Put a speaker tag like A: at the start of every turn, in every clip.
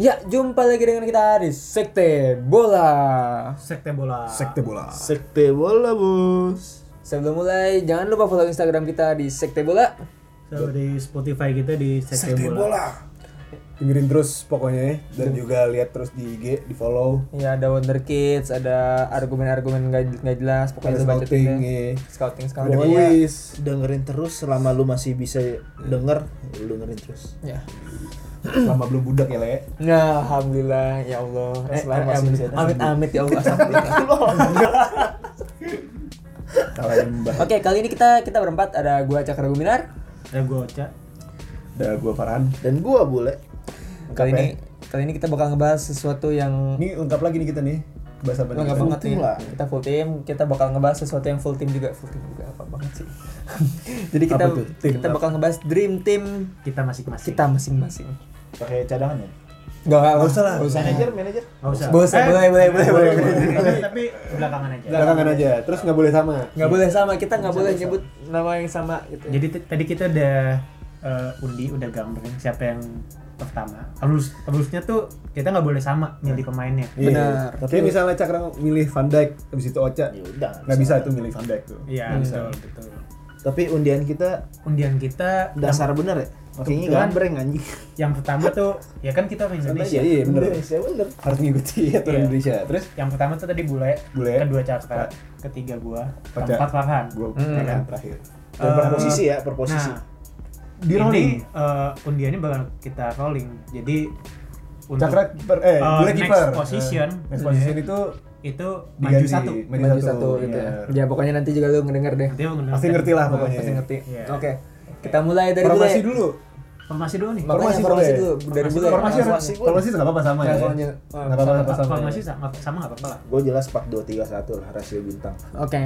A: Ya, jumpa lagi dengan kita di Sekte Bola.
B: Sekte bola.
C: Sekte bola.
D: Sekte bola bos.
A: Sebelum mulai, jangan lupa follow Instagram kita di Sekte Bola.
B: Sama di Spotify kita di Sekte,
C: Sekte
B: bola.
C: bola. Dengerin terus pokoknya ya.
D: Iya.
C: Dan juga lihat terus di IG, di follow.
A: Ya, ada Wonder Kids, ada argumen-argumen nggak nggak jelas, pokoknya
C: Ada
A: lu baca
C: scouting,
A: deh.
C: ya.
A: Scouting,
C: Ada
A: scouting.
C: kuis.
D: Dengerin terus selama lu masih bisa
C: Iya.
D: denger, lu dengerin terus.
A: Ya.
C: Selama belum budak ya, Le.
A: Nah, alhamdulillah ya Allah. Eh,
D: Selama masih bisa
A: amit, amit, amit ya Allah.
C: Salah nyembah.
A: Oke, kali ini kita kita berempat ada gua Cakra Guminar.
B: Ada gue Oca.
C: Ada gua Farhan.
D: Dan gua boleh.
A: Kali ini kali ini kita bakal ngebahas sesuatu yang
C: Ini lengkap lagi nih kita nih. Bahas apa nih?
A: lengkap
C: kita?
A: banget
D: tim
A: nih.
D: lah.
A: Kita full team, kita bakal ngebahas sesuatu yang full team juga, full team juga apa banget sih. Jadi kita
C: Apa tuh? Tim
A: kita bakal ngebahas dream team
B: Kita masing-masing.
A: kita masing-masing.
D: Pakai cadangan ya.
A: Gak lah.
C: usah lah.
A: Gak usah.
D: Manajer, manajer.
B: Gak usah.
A: Boleh,
B: Eh,
A: boleh, boleh, boleh, boleh.
B: boleh, Tapi belakangan aja.
C: Belakangan aja. Terus nggak boleh sama.
A: Gak boleh sama, kita gak boleh nyebut nama yang sama gitu.
B: Jadi t- tadi kita udah eh, undi, udah gambling siapa yang pertama. Alus, alusnya tuh kita nggak boleh sama milih pemainnya.
C: Iya.
A: Benar.
C: Tapi misalnya Cakra milih Van Dijk, habis itu Ocha.
D: Ya udah.
C: Nggak bisa itu milih Van Dijk tuh.
B: Iya, betul, betul.
D: Tapi undian kita
B: Undian kita
D: dasar bener ya. Makanya
B: Kebetulan.
D: gambreng anjing.
B: yang pertama tuh ya kan kita orang Indonesia.
C: Iya, iya bener.
D: Indonesia Ya bener.
C: Harus ngikuti aturan
B: Iya.
C: Indonesia. Terus
B: Yang pertama tuh tadi bule,
C: Bule.
B: kedua Cakra, ketiga gua,
C: Oca.
B: keempat Farhan.
C: gua
A: Hmm.
C: Farhan terakhir.
D: Dan
B: Eh,
D: per posisi ya, per posisi.
B: Nah,
C: Di rolling.
B: Ini eh, undiannya bakal kita rolling. Jadi untuk
C: Cakra kiper eh
B: eh,
C: boleh
B: next
C: kiper.
B: position.
C: Eh, Next position
B: Iya.
C: itu
B: itu maju
C: diganti,
B: satu.
C: Maju,
A: Maju
C: satu,
A: satu gitu ya.
C: benar.
A: Ya pokoknya nanti juga lu ngedenger deh.
B: Nanti
C: Pasti ngerti lah pokoknya.
A: Pasti ngerti.
B: Iya.
A: Oke. Kita mulai dari
C: Formasi
A: bule.
C: dulu.
B: Formasi dulu nih.
A: Makanya
C: Formasi
A: formasi
C: boleh.
A: dulu dari
B: Formasi
A: bule.
B: dulu.
C: Formasi
A: Langsung.
C: formasi enggak apa-apa sama ya.
A: Langsung aja.
C: Enggak apa-apa
B: Sama-
C: sama. ya?
B: formasi sama sama nggak apa-apa lah.
D: Gue jelas 4 2 3 1 lah rasio bintang.
A: Oke.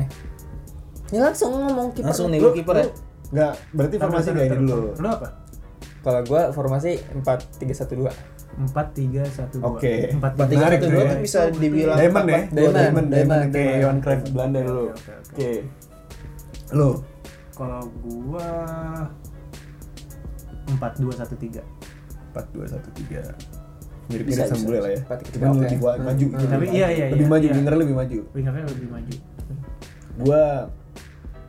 A: Ya langsung ngomong kiper.
D: Langsung nih lu kiper ya.
C: Enggak, berarti formasi
B: Ntar,
C: enggak ini
B: ntar,
C: dulu.
B: ntar. Lu apa?
A: Kalau gua formasi 4 3 1 2.
B: Empat tiga satu dua.
C: Oke.
B: Empat
A: Empat, tiga,
B: tiga,
C: Menarik
B: satu,
C: tuh
D: Lu
C: ya.
D: tuh bisa dibilang
C: Diamond ya.
D: apa?
A: Diamond,
C: Diamond,
A: Diamond,
C: Diamond kayak
A: Diamond.
C: Johan Cruyff Belanda dulu.
B: oke, oke.
C: Oke. Lu
B: Kalau gua empat dua satu tiga.
C: 4 2 1 3. Mirip-mirip
A: Bisa,
C: sama
A: bisa,
C: bule lah ya.
A: bisa. Empat, tiga,
C: Cuman
A: oke. Hmm.
C: lebih wa- maju. gitu.
B: Tapi iya, iya,
C: Lebih
B: iya,
C: maju,
B: iya.
C: bener lebih maju.
B: Wingernya lebih maju.
C: Gua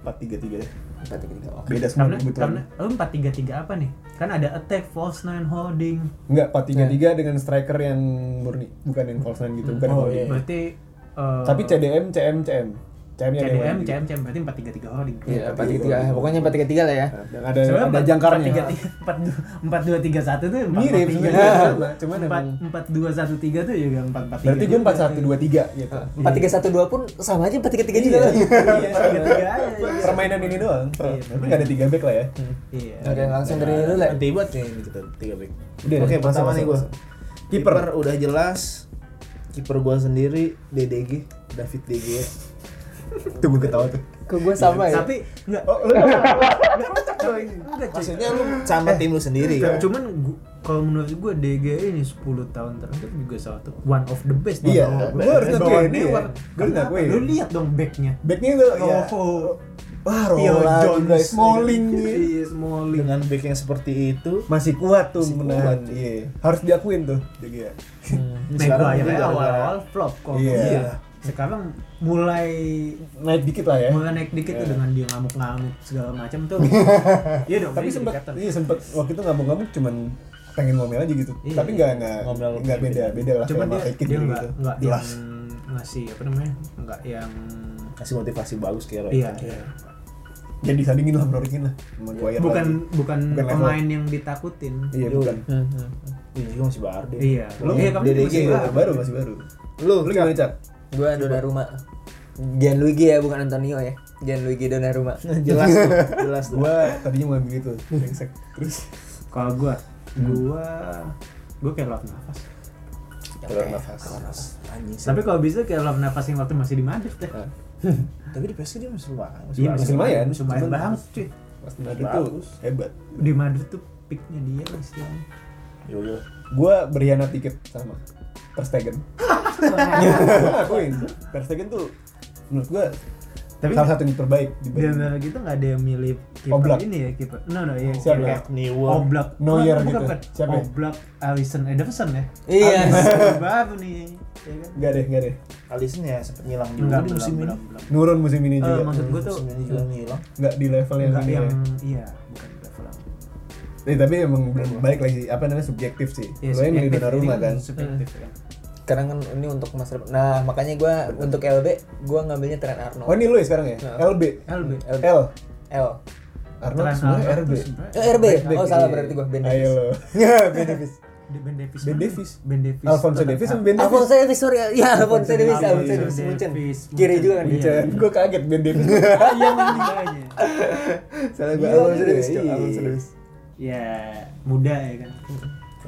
C: 4 3 3 deh.
A: 4 3 3. Oke.
C: Beda semua
B: Karena
C: kebetulan.
B: karena lu empat tiga tiga apa nih? Kan ada attack, false nine, holding.
C: Enggak,
B: Iya.
C: 4-3-3 dengan striker yang murni, bukan yang false nine gitu, bukan
D: Oh,
C: holding.
D: iya.
B: Berarti eh,
C: Tapi CDM, CM, CM. CM -nya ada yang
B: CDM,
C: holding.
B: CM, CM berarti 433 holding.
A: Iya, 4 3 3. Pokoknya 4 3 3 lah ya.
C: Nah, Yang ada ada jangkarnya.
B: 4231 tuh
C: Mirip
B: 443.
C: sebenarnya, sama, cuman
B: Empat-
C: emang-
B: 4213 tuh juga 443.
C: Berarti gue 4-1-2-3 gitu.
B: Iya.
A: 4 3 1 2 pun sama aja 4 3 3 juga. lah.
C: Iya, sama.
B: 433 aja. iya.
C: Permainan ini doang.
B: Iya,
C: Nanti nggak ada tiga back lah ya.
B: Iya.
A: Oke, langsung dari lu lah.
D: Nanti buat nih ya ini kita tiga back.
C: Udah,
D: Oke,
C: masuk,
D: pertama
C: masuk,
D: nih gua.
C: masuk. Kiper.
D: Kiper udah jelas. Kiper gua sendiri DDG, David DG.
C: Tuh gue ketawa tuh.
A: Kok gua sama ya?
B: Tapi enggak
C: Oh, lu
B: enggak cuy.
D: Maksudnya lu sama tim lu sendiri
C: ya?
D: kan?
B: Cuman gua- kalau menurut gue DG ini 10 tahun terakhir juga satu one of the best
C: Iya,
B: Bang.
C: gua harus ngakuin
B: Bawaan
C: ini ya.
B: dewa.
C: Gua harus
B: Kenapa?
C: ngakuin.
B: Lu lihat dong backnya.
C: Backnya tuh
D: Iya.
C: ya.
B: Rojo.
C: Wah,
B: Theo
C: Roland,
B: Jones.
C: Iya, Smalling.
B: Iya, Smalling.
D: Dengan back yang seperti itu,
C: Masih kuat tuh
D: Masih
C: menahan.
D: kuat.
C: Iya. Harus diakuin tuh. Jadi ya.
D: Sekarang
B: Maguire
D: mungkin
B: ya,
D: gara-gara-
B: awal-awal flop kok.
C: Iya.
B: Sekarang mulai
C: Naik dikit lah ya.
B: mulai naik dikit tuh dengan dia ngamuk-ngamuk segala macam tuh. Iya dong.
C: Tapi
B: dia
C: sempet,
B: dikatakan.
C: iya sempet waktu itu ngamuk-ngamuk cuman pengen ngomel aja gitu.
B: Iya,
C: Tapi
B: iya.
C: nggak nggak
D: Ngomel.
C: nggak beda beda lah
B: Cuman
C: sama
B: dia
C: Hakim
B: dia
C: gitu.
B: nggak nggak yang
C: Jelas.
B: ngasih apa namanya? Nggak yang
D: kasih motivasi bagus kayak Roy.
B: Iya.
C: Jadi disandingin lah, brodikin lah. Sama Guayat
B: Bukan
C: lagi.
B: bukan
C: Iya, Bukan level.
B: pemain yang ditakutin.
C: Iya, bukan.
A: Hmm, hmm.
D: Ini juga masih Barde.
B: Iya. Lu
D: Iya,
B: iya kamu
D: DDG
B: masih
C: Iya,
B: baru.
C: baru masih baru.
D: Lu,
C: Lu gimana, Cak?
A: Gua Donnarumma. Gianluigi ya, bukan Antonio ya. Gianluigi Donnarumma.
D: jelas tuh, jelas tuh.
C: Gua tadinya mau begitu, brengsek. Terus
B: Kalau gua gua gua kayak lap nafas.
A: Eh,
D: Keluar nafas. Anjing.
B: Tapi kalau bisa kayak lap nafas yang waktu masih di Madrid ya. deh.
D: Tapi di PSG dia masih lumayan.
B: Iya,
C: masih lumayan.
B: Lumayan
C: Cuman-
B: banget cuy.
C: Mas Nadal tuh
D: Bagus.
C: hebat.
B: Di Madrid tuh picknya dia istilahnya.
C: Yaudah. Gua berkhianat dikit sama Ter Stegen. Akuin. Ter Stegen tuh menurut gua
B: Tapi
C: salah satu yang terbaik
B: di
C: di Bayern.
B: antara gitu nggak ada yang milih kiper
C: Oblak.
B: ini ya kiper no no iya
C: Siapa?
B: kayak
D: Newell.
B: Oblak
C: Neuer
B: Bukan,
C: gitu.
B: bukan.
C: Siapa ya?
B: Oblak Alisson Ederson ya
A: Iya.
B: baru nih ya kan?
C: Enggak deh, enggak deh.
D: Alisson ya sempet ngilang
B: Enggak,
D: juga di
B: belum,
D: musim ini. iya.
B: belum, belum.
C: Nurun musim ini
B: Eh,
C: juga.
B: maksud gue tuh
D: Musim ini juga ngilang.
C: Enggak di level yang
B: enggak
C: ini.
B: yang
C: ya.
B: iya bukan Iya, level yang-
C: Eh, tapi emang belum balik lagi apa namanya subjektif sih.
B: Iya,
C: Lo yang milih
B: subjektif,
C: Donnarumma
B: ini
C: kan.
B: subjektif ya.
A: Sekarang kan ini untuk masa depan. Nah, makanya gua untuk LB gua ngambilnya Trent Arnold.
C: Oh, ini lo ya sekarang ya?
A: Nah.
C: LB.
B: LB.
A: LB.
C: L.
A: L.
C: Arnold
B: Trent
C: sebenarnya
B: Arnold
C: RB.
B: tuh sebenarnya-
A: Eh, RB.
C: Back
A: Oh,
C: back.
A: salah berarti gua Ben
C: Ayo
A: Davis.
C: lo. Ya, Ben Davis.
B: Di Ben Davis.
C: Ben
B: mana?
C: Davis.
B: Ben Ah, Davis.
C: Alfonso
B: tetap-
C: Davis sama Ben Davis.
A: Alfonso Davis, sorry. Ya, Alfonso Davis,
B: Davis,
A: Alfonso
B: Alfonso
A: Davis Munchen.
B: Davis,
A: Kiri
B: Munchen.
A: juga kan
B: Iya.
A: Munchen.
C: Gue kaget Ben Davis.
B: Ah, Iya, mendingannya.
C: Salah gue
A: Gila,
C: Alonso
A: Davis,
C: Davis.
A: Cok,
C: Iya.
A: Alonso Davis.
B: Ya, muda ya kan.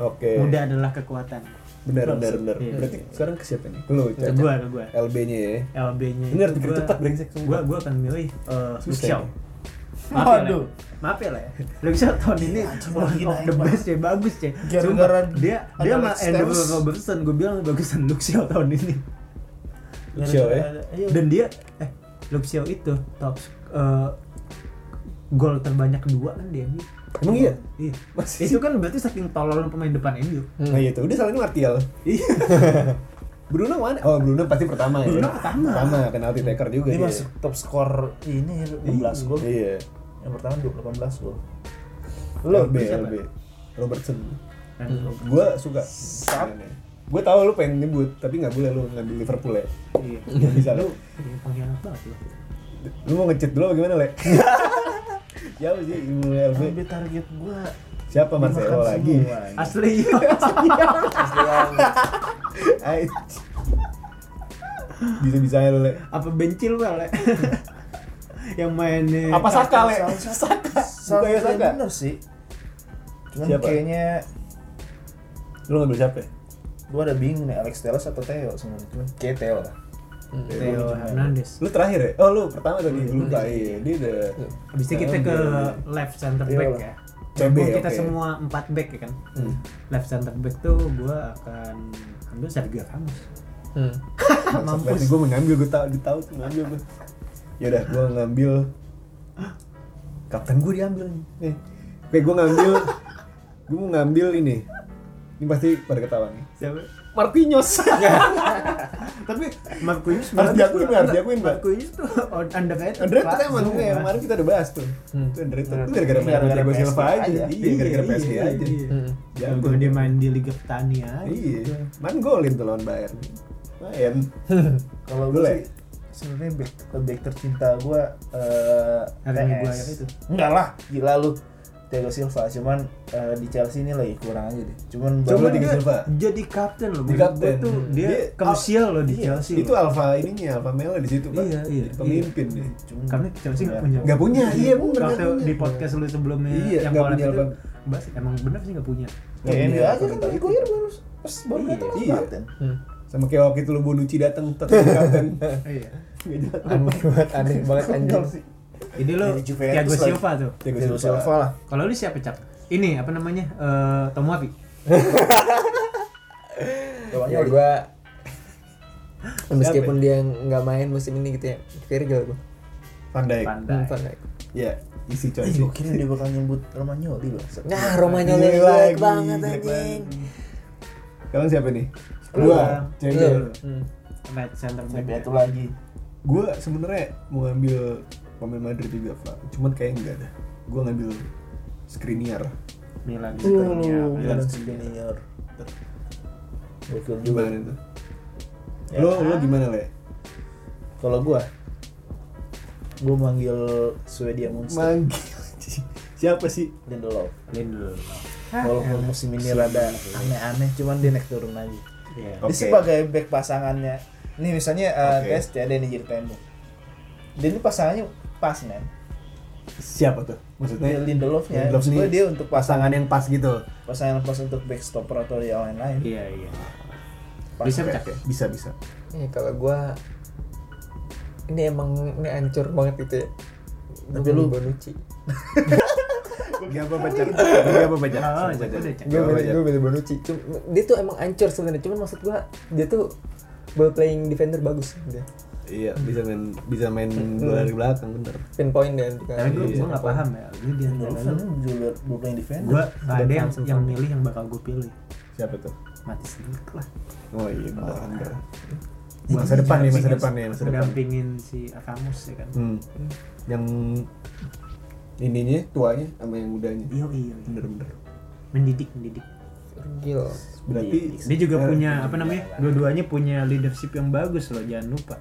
C: Oke.
B: Muda adalah kekuatan.
C: Benar, benar, benar.
B: Iya.
C: Berarti sekarang ke siapa nih? Lu,
B: Ke
C: Cak.
B: gua, ke gua.
C: LB-nya ya.
B: LB-nya.
C: Bener,
B: itu
C: pikir
B: gua-
C: cepat, brengsek, sumpah.
B: Gua gua akan milih eh
C: Susah
B: Luke Shaw.
C: nih.
B: Maaf ya,
D: Waduh.
B: Le. Maaf ya lah ya. Luke Shaw tahun ini one of the best ya, bagus ya. Cuma
D: Gara-gara
B: dia dia sama
D: Alex
B: Andrew
D: Telles.
B: Robertson, gua bilang bagusan Luke Shaw tahun ini.
C: Lucio ya.
D: Iya.
B: Dan dia eh Luke Shaw itu top eh gol terbanyak kedua kan dia. Mi.
C: Emang iya?
B: Iya.
C: Masih?
B: Itu kan berarti saking tololnya pemain depan MU.
A: Hmm.
C: Nah, itu udah salah ini Martial.
B: Iya.
C: Bruno mana? Oh, Bruno pasti pertama ya.
B: Bruno pertama.
C: Pertama, penalti taker juga
D: Dia
C: dia.
D: masuk top skor ini 16 gol.
C: Iya.
D: Yang pertama 18 gol.
C: Lo
B: LB
C: B,
B: siapa?
C: LB. Robertson.
B: Dan Rob-
C: Gua suka. sebenarnya. Gua tahu lu pengen nyebut, tapi nggak boleh lu ngambil Liverpool ya.
B: Iya.
C: Nggak bisa
B: Lu
C: lu.
B: iya, pengkhianat banget lu.
C: Lu mau ngecet dulu apa gimana, Le? Siapa sih yang mau LB?
D: Lebih target gua
C: Siapa Marcelo
D: dimakan
C: lagi?
D: semua.
B: Asli. iya.
A: Asli yang
C: Ai. Bisa-bisa ya lu, Le.
B: Apa bencil kali? Yang mainnya
C: Apa Saka, Le?
D: Saka.
C: Bukan ya, Saka?
D: Bener sih. Cuman
C: Siapa?
D: kayaknya
C: Lu ngambil siapa?
D: gua ada bingung nih Alex Telles atau Theo sebenarnya. Cuman kayak Theo lah.
B: Theo Hernandez.
C: Lu terakhir ya? Oh, lu pertama tadi. Lupa, iya. Dia udah
B: Habis itu
C: Iya,
B: kita ke left center
D: Iya
B: back
D: lah.
B: ya.
C: CB,
B: Mumpung kita
C: oke.
B: semua empat back ya kan.
C: Hmm.
B: Left center back tuh gua akan ambil Sergio Ramos.
A: Hmm.
C: Mampus. Gue mengambil, gue tahu, dia tahu tuh ngambil gue. Yaudah, gue ngambil. Kapten gue diambil nih. Nih. Oke, gue ngambil. gue mau ngambil ini. Ini pasti pada ketawa nih.
B: Siapa?
C: Marquinhos.
B: Tapi Marquinhos
C: Harus
B: bagus
C: diakuin,
B: tuh.
C: harus diakuin, Mbak.
B: Marquinhos tuh Iya, underrated.
C: Andre
B: Pak.
C: tuh emang
B: Sumpah.
C: yang kemarin kita udah bahas tuh.
A: Hmm.
C: Itu Andre tuh itu gara-gara main sama
D: Gara-gara
C: Thiago
D: PSG
C: Silva aja.
D: aja.
C: Iya, gara-gara PSG
B: iya,
C: aja.
B: iya.
A: Hmm.
C: Jago.
B: Jago dia main di Liga Petani aja.
C: Iya. Man golin tuh lawan Bayern. Bayern.
D: Kalau
C: Lu,
D: gue
C: Le?
D: sih sebenarnya back, back tercinta gue eh
B: Harry
D: TS.
B: Maguire itu.
D: Enggak lah, gila lu. Thiago Silva cuman eh, di Chelsea ini lagi kurang aja deh. Cuman
C: Coba
D: baru-
C: di- Thiago
B: dia
C: Silva.
B: jadi kapten loh.
C: Di
B: menurut
C: kapten.
B: gua tuh dia,
C: Dia-
B: krusial loh di
C: Iya,
B: Chelsea.
C: Itu
B: loh.
C: alfa ininya, alfa male di situ, Pak.
B: Iya, iya,
C: Jadi Pemimpin
D: Iya,
C: nih.
D: cuman
B: karena Chelsea nggak
D: Nggak-
B: punya.
C: nggak punya, iya, bener,
B: Waktu
C: nggak punya.
B: di podcast lu sebelumnya
C: Iya,
B: yang
C: nggak
B: kolam
C: punya
B: itu,
C: apa.
B: bahas emang bener sih nggak punya.
D: Ya,
C: Nggak
D: MU
C: punya
D: aja kan
C: mental itu.
D: Maguire baru pas baru
B: Iya,
D: datang
C: iya.
D: kapten.
A: Hmm.
C: Sama kayak waktu itu lu Bonucci datang tetap kapten.
B: Iya.
C: Nggak jelas.
A: Aneh banget, aneh banget anjing.
B: Jadi lo
D: Dari Juventus
B: Thiago
D: lagi.
B: Silva Iya, tuh.
C: Thiago
D: Thiago
C: Silva.
D: Silva lah.
B: Kalau lu siapa cak? Ini apa namanya? Eh Tomoapi.
A: Ya gua meskipun dia
C: ya?
A: nggak main musim ini gitu ya, Virgil gua.
C: Van Dijk.
A: Hmm,
B: Pandai.
A: Van Dijk.
C: Ya, isi coy.
D: Eh, gue kira dia bakal nyebut Romagnoli loh.
A: Nah, Romanya
C: Gila
A: jelek
C: lagi,
A: banget
C: jelek
A: anjing.
C: Kalian siapa nih?
B: Lu.
C: Gua,
A: Lu.
C: cewek.
A: Hmm.
B: Right center back.
D: Tapi itu lagi.
C: Gua sebenarnya mau ngambil pemain Madrid juga, Pak. Cuman kayak enggak dah. Gua ngambil Skriniar.
B: Milan
C: Iya,
D: Milan
B: Milan
D: Skriniar. Gokil juga.
C: Gimana itu?
D: Ya.
C: Lo lo gimana, Le?
D: Kalau gua gua manggil Swedia Monster
C: Manggil. Siapa sih?
D: Lindelof.
B: Lindelof. Ah,
D: Walaupun musim ini rada aneh-aneh, cuman dia naik turun lagi.
B: Iya.
C: Oke.
D: Dia sebagai back pasangannya. Nih misalnya uh,
C: Oke.
D: guys, dia ada yang jadi tembok. Dia ini pasangannya pas men.
C: Siapa tuh? Maksudnya
D: Dia Lindelofnya.
C: Lindelof
D: Lindelof
C: sendiri.
D: dia untuk
C: pasangan
D: pasangan
C: yang pas gitu.
D: pasangan pas untuk back stopper atau yang lain-lain.
B: Iya, iya.
D: Pas.
B: Bisa
C: Oke,
B: pecah. ya?
C: oke. Bisa, bisa.
A: Ini Iya, kalau gua ini emang ini hancur banget gitu ya.
D: Tapi lu-
A: Bonucci.
C: Gak apa-apa, Cak. Gak apa-apa,
B: Nggak
C: Cak.
B: apa-apa,
C: Sama
B: Cak. Udah, Cak.
C: Gak
A: gue
C: apa-apa,
A: milih
C: Cak.
A: gue milih Bonucci Cuma- dia tuh emang ancur sebenarnya cuman maksud gue dia tuh ball playing defender bagus dia
C: Iya, bisa main bisa main bola dari belakang bener.
A: pinpoint dan juga
B: Tapi gue
C: Iya.
B: gue nggak paham ya. Lu dia
D: Lu
B: lalu.
D: kan juga gue playing defender.
B: Gue nggak ada yang
A: langsung
B: yang
A: sama.
B: milih yang bakal gue pilih.
C: Siapa tuh?
B: Mati sendiri lah.
C: Oh iya, bener.
B: Masa
C: depan nih, masa depan nih, masa depan.
B: Dampingin si Akamus ya kan.
C: Hmm. Yang ininya tuanya sama yang mudanya.
B: Iya iya. iya.
C: Bener-bener.
B: Mendidik mendidik. Eh,
A: gil
C: Berarti
B: Dia
C: Eh,
B: juga punya apa namanya? Dua-duanya punya leadership yang bagus loh. Jangan lupa.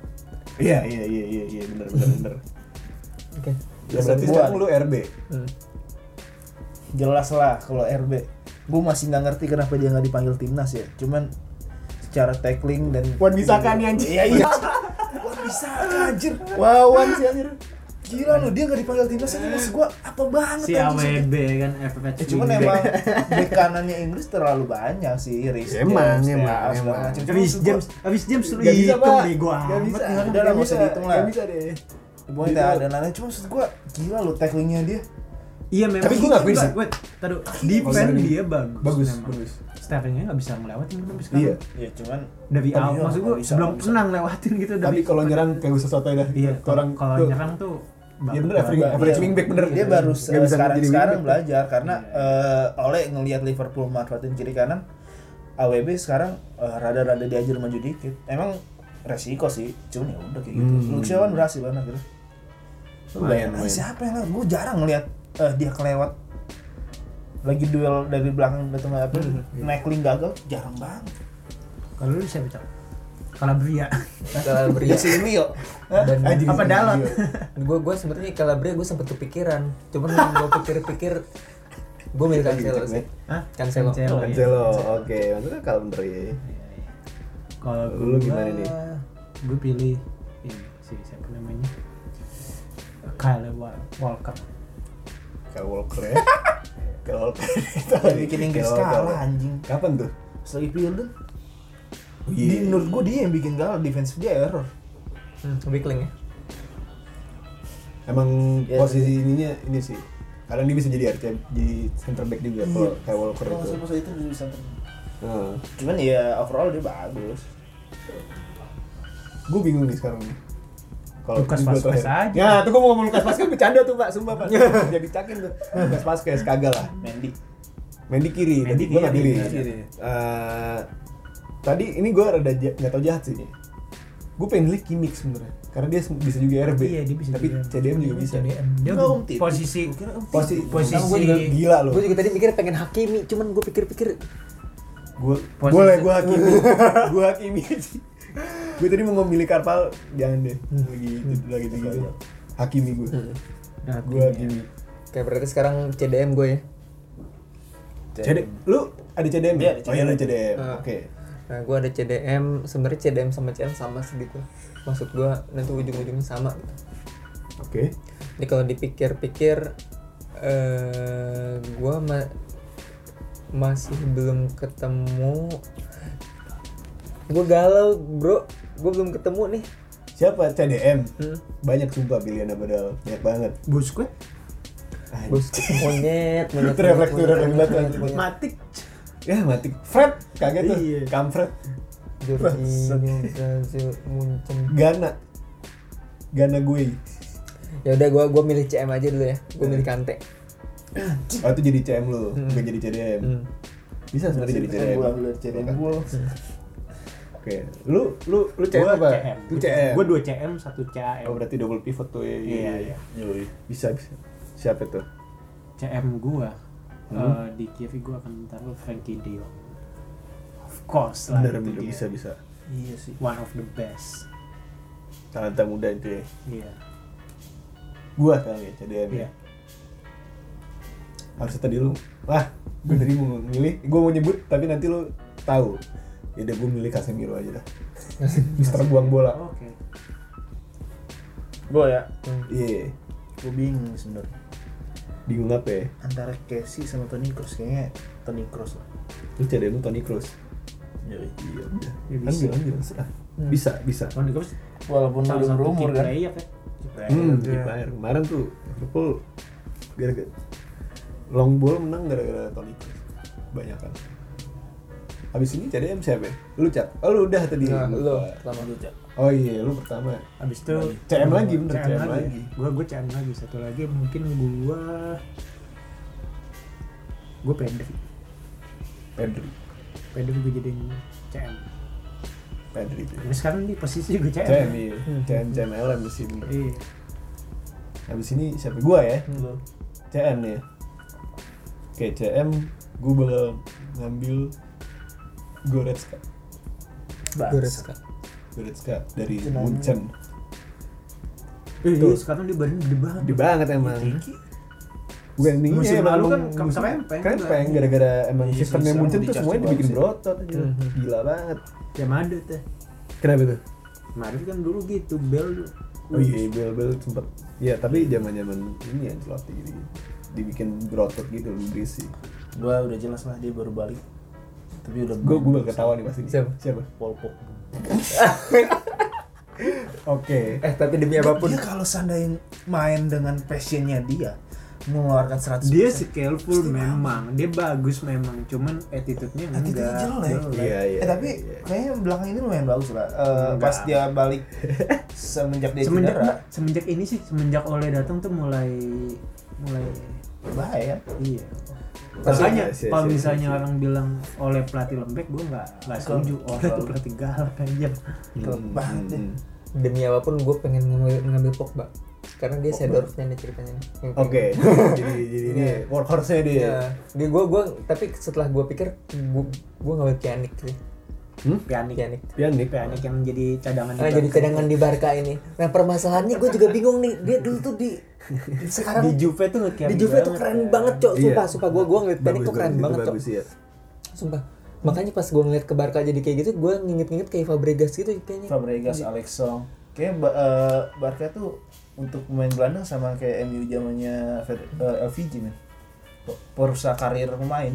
B: Ya,
C: Iya, iya, iya, iya, iya, bener, bener, bener.
A: oke
C: Ya berarti
D: Buat.
C: sekarang lu RB.
A: Hmm.
D: Jelas lah kalau RB. Gue masih nggak ngerti kenapa dia nggak dipanggil timnas ya. Cuman secara tackling dan
C: Wan Bisaka nih, anjing.
D: Iya iya. Wan bisa anjir. Wawan sih anjir. Gila lu dia nggak dipanggil timnas ini maksud gue apa banget
B: Si
D: anjir.
B: AWB ya kan FFH.
D: Ya, cuman
B: Wingback.
D: emang bek kanannya Inggris terlalu banyak sih Riz
C: Ya, emang,
D: James,
C: emang,
D: Teas, segala
C: emang.
D: macam. Cuman
B: Abis
D: maksud gua,
B: James, abis James lu
C: Gak bisa,
B: hitung
C: Pak.
B: deh gua
C: Gak bisa.
B: amat.
D: Udah lah,
C: Gak
D: nggak usah
C: bisa.
D: dihitung lah.
C: Gak bisa deh.
D: Pokoknya tak ada nanya, cuma maksud gue gila lu tacklingnya dia
B: Iya memang.
C: Tapi gua ngakuin sih.
B: Wait, taruh. Defend
C: Bagus.
B: dia bagus.
C: Bagus,
B: memang.
C: bagus.
B: Startingnya nggak bisa melewati sampai sekarang.
C: Iya.
D: Ya cuman
B: Dari
D: Tapi
B: awal,
C: ya,
D: iya,
B: maksud gua
D: nggak bisa,
B: belum
D: nggak bisa.
B: senang lewatin gitu.
C: Tapi
B: dari-
C: kalau nyerang kayak usah sotoy dah.
B: iya,
C: Tuh orang
B: kalau
C: tuh.
B: nyerang tuh.
C: Iya
B: bagus
C: bener,
B: banget.
C: average, average
D: Iya.
C: wingback bener.
D: dia baru
C: Gak
D: eh,
C: bisa Iya.
D: sekarang
C: jadi
D: sekarang
C: wingback.
D: belajar karena eh, oleh ngelihat Liverpool manfaatin kiri kanan AWB sekarang eh, rada-rada diajar maju dikit emang resiko sih cuman ya udah kayak gitu
C: Hmm.
D: hmm. Luxiawan berhasil banget gitu
C: Lumayan,
D: Nah,
C: lumayan.
D: siapa yang gue jarang ngelihat eh, dia kelewat lagi duel dari belakang datang apa
C: Hmm, iya.
D: naik link gagal jarang banget
B: Kalau lu siapa cok? Calabria.
A: Calabria
D: Silvio
A: dan
C: Anjing,
B: Apa
C: anjing,
B: Dalot?
C: iya.
A: gue gue sebenarnya Calabria gue sempet kepikiran cuman gue pikir-pikir gue milih
C: gitu,
A: Cancelo sih
B: Hah?
A: Cancelo.
B: Cancelo. iya.
C: Cancelo, Oh, oke. Maksudnya kalau bener ya.
B: Iya, iya. Kalau
C: Lu
B: gua-
C: gimana nih?
B: Gue pilih ini si siapa namanya? Kyle Wa- Walker.
C: Kyle Walker ya. Kyle Walker. Tahu nih,
D: bikin Inggris
C: Kyle Walker.
D: kalah anjing
C: Kapan tuh?
D: Pas lagi Pilden
C: Iya.
D: ya di menurut gue dia yang bikin gagal defensive dia error
A: Hmm, Wikling ya
C: Emang
D: Iya.
C: posisi ininya ini sih. Kadang dia bisa jadi RC, jadi center back juga kalau Kyle Iya, Walker
D: Iya. Kalau
C: itu.
D: nggak salah itu di center.
C: Nah,
D: Cuman ya overall dia bagus.
C: gue bingung nih sekarang nih. Kalau
B: Lukas
C: ini gua
B: Vazquez
C: terakhir.
B: aja.
C: Ya, tuh gue mau ngomong Lukas Vazquez bercanda tuh, Pak. Sumpah, Pak. Jadi cakin tuh. Lukas Vazquez kagak lah.
D: Mendy.
C: Mendy kiri,
B: Mendy
C: tadi gue nggak
B: kiri,
C: pilih.
D: kiri.
C: Eh, tadi ini gue rada ja- nggak tau jahat sih. Gue pengen pilih Kimmich sebenarnya, karena dia sem- bisa juga RB.
B: Iya, dia bisa
C: Tapi
B: juga.
C: CDM juga bisa.
A: CDM.
B: Dia
D: Nggak, Om Titi.
B: posisi
D: Gua kira Om Titi.
C: Posisi
B: Posisi-
C: Pertama gua juga gila loh.
A: gue juga tadi mikir pengen Hakimi cuman gue pikir-pikir
C: Gue
B: Posisi-
C: boleh gue Hakimi, gue Hakimi. gue tadi mau memilih Karpal, jangan deh.
B: Hmm.
C: Lagi lagi gitu. Hakimi gue.
B: Nah,
C: Gue
B: tim
C: Hakimi.
B: ya.
A: kayak berarti sekarang CDM gue ya
C: CD, lu ada CDM
D: Iya,
C: ya?
D: ada
C: Oh iya, lu CDM.
A: Ah.
C: Oke.
A: Nah, gue ada CDM, sebenarnya CDM sama CM sama segitu. Maksud gue nanti ujung-ujungnya sama. gitu.
C: Oke.
A: Jadi kalau dipikir-pikir, eh gue masih belum ketemu. Gue galau, bro. Gue belum ketemu nih.
C: Siapa CDM?
A: Hmm.
C: Banyak sumpah pilihan apa Dal? Banyak banget.
B: Busquets,
C: Anjing.
A: Bos monyet, monyet.
C: Itu refleks,
A: monyet,
C: itu refleks
A: monyet,
C: banget,
A: monyet, monyet.
B: Matic,
C: Ya mati. Fred kaget tuh.
B: Iya.
C: Kamfred.
A: Jorginho, Brazil, Munchen.
C: Gana. Gana gue.
A: Ya udah, gue gue milih CM aja dulu ya. Gue milih Kante.
C: Oh itu jadi CM lu, bukan jadi CDM.
A: Hmm.
C: Bisa sebenarnya jadi CDM.
D: Gua ambil CDM gua.
C: Oke. Lu lu lu CM
B: Gua
C: apa?
B: CM.
C: Lu CM.
B: Gue dua CM, satu CAM.
C: Oh berarti double pivot tuh ya.
B: Iya, iya.
D: Yoi.
C: Bisa bisa. Siapa tuh?
B: CM gua eh,
C: Hmm?
B: di Kiev gua akan taruh Frankie De Jong. Of course lah.
C: Bener
B: itu
C: bener
B: dia.
C: bisa bisa.
D: Iya sih.
B: One of the best.
C: Talenta muda itu ya.
B: Iya.
C: Gua sekarang ya CDM ya.
B: Iya.
C: Harusnya tadi lu. Wah, gue tadi mau milih, gue mau nyebut tapi nanti lu tahu. Ya udah gue milih Casemiro aja dah. Mister buang bola.
B: Oh, Oke.
D: Gua ya.
C: Iya.
D: Gua bingung sebenarnya.
C: Bingung apa ya?
D: Antara Casey sama Toni Kroos kayaknya Toni Kroos lah.
C: Lu CDM lu Toni Kroos.
D: Yoi.
C: Iya udah.
B: Ya, bisa.
C: Ambil ambil serah. Ah, Bisa bisa.
B: Kalau di Kiev
D: Walaupun
B: salah
D: udah
B: satu
D: berumur
B: key
D: kan.
B: player ya.
C: Hmm,
D: Iya.
C: di player. kemarin tuh Liverpool gara-gara long ball menang gara-gara Toni Kroos. Banyak kan. Habis ini CDM siapa? ya? Lu cat. Oh, lu udah tadi.
A: Nah,
C: Lupa.
A: lo pertama dulu.
C: Oh iya, lu pertama.
B: Abis itu
C: CM lagi, bener,
B: CM,
C: CM
B: lagi.
C: lagi.
B: Gua gua CM lagi satu lagi mungkin gua gua Pedri.
C: Pedri.
B: Pedri gua jadiin CM.
C: Pedri itu.
B: Ini sekarang di posisi juga CM.
C: CM iya. CM CM LM sih bener.
B: Iya.
C: Habis ini siapa gua ya?
D: Lu.
C: CM nih. ya. Oke, CM gua bakal ngambil Goretzka.
A: Goretzka.
C: Goretzka dari
D: Itu namanya.
C: Munchen.
B: Eh,
C: Tuh.
B: iya, sekarang di Bandung gede banget.
C: Gede banget emang. Bukan ini
B: Musim
C: emang-
B: lalu kan
C: emang-
B: kamu serempeng
C: Serempeng,
B: juga.
C: gara-gara emang
D: Iya,
C: sistemnya
D: serem
C: Munchen
D: di
C: tuh
D: charge
C: semuanya
D: banget
C: dibikin
D: sih.
C: berotot anjir. Gila banget.
B: Ya ada teh.
C: Kenapa tuh?
B: Kemarin kan dulu gitu Bel
C: Oh iya, Bel Bel sempet. Ya tapi zaman zaman ini Ancelotti gitu, gitu. dibikin berotot gitu lu berisi.
D: Gua udah jelas lah dia baru balik. Tapi udah
C: Gue gue bakal ketawa nih pasti. nih.
A: Siapa?
C: Siapa?
D: Paul Pogba.
C: Oke.
A: Eh tapi
C: Ya,
D: Iya,
A: demi apapun
D: Dia kalau sandain main dengan passionnya dia mengeluarkan 100%
B: dia skillful memang, dia bagus memang, cuman attitude-nya
D: Nanti dia
B: enggak.
D: jelek.
C: Iya iya.
D: eh tapi
C: iya.
D: kayaknya belakang ini lumayan bagus lah. Eh,
B: Enggak.
D: pas dia balik semenjak dia
B: semenjak
D: cedera,
B: semenjak ini sih semenjak oleh datang tuh mulai mulai
D: bahaya.
B: iya
C: Pasti
B: makanya
C: ada, sih,
B: kalau
C: sih,
B: misalnya
C: sih, sih.
B: orang bilang oleh pelatih lembek gue nggak nggak setuju oleh tuh pelatih galak aja
D: Kelem banget
A: ya.
D: deh.
C: Hmm.
A: demi apapun gue pengen ngambil, ngambil Pogba karena dia Seedorfnya nih ceritanya nih. Yang
C: Oke. jadi jadi ini
A: Iya.
C: workhorse-nya dia. ya?
A: Iya. Di gua gua tapi setelah gua pikir gua, gua ngambil Pjanic sih.
B: pianik
A: Pjanic.
C: Pianik.
B: pianik yang jadi cadangan di
A: Nah, jadi
B: belakang.
A: cadangan di Barca ini. Nah, permasalahannya gua juga bingung nih. Dia dulu tuh di
B: di
A: sekarang di,
B: Juve tuh nge-carry
A: Juve tuh
B: banget,
A: keren
B: ya.
A: banget, Cok. Sumpah,
C: Iya.
A: sumpah gua gua ngeliat Pjanic tuh keren
C: itu
A: banget, Cok.
C: Bagus ya.
A: Sumpah. Makanya pas gua ngeliat ke Barca jadi kayak gitu, gua nginget-nginget kayak Fabregas gitu kayaknya.
D: Fabregas,
C: Iya.
D: Alex Song. Kayaknya Ba- eh, Barca tuh untuk pemain Belanda sama kayak MU zamannya Fer- eh, LVG men. P- Perusak karir pemain.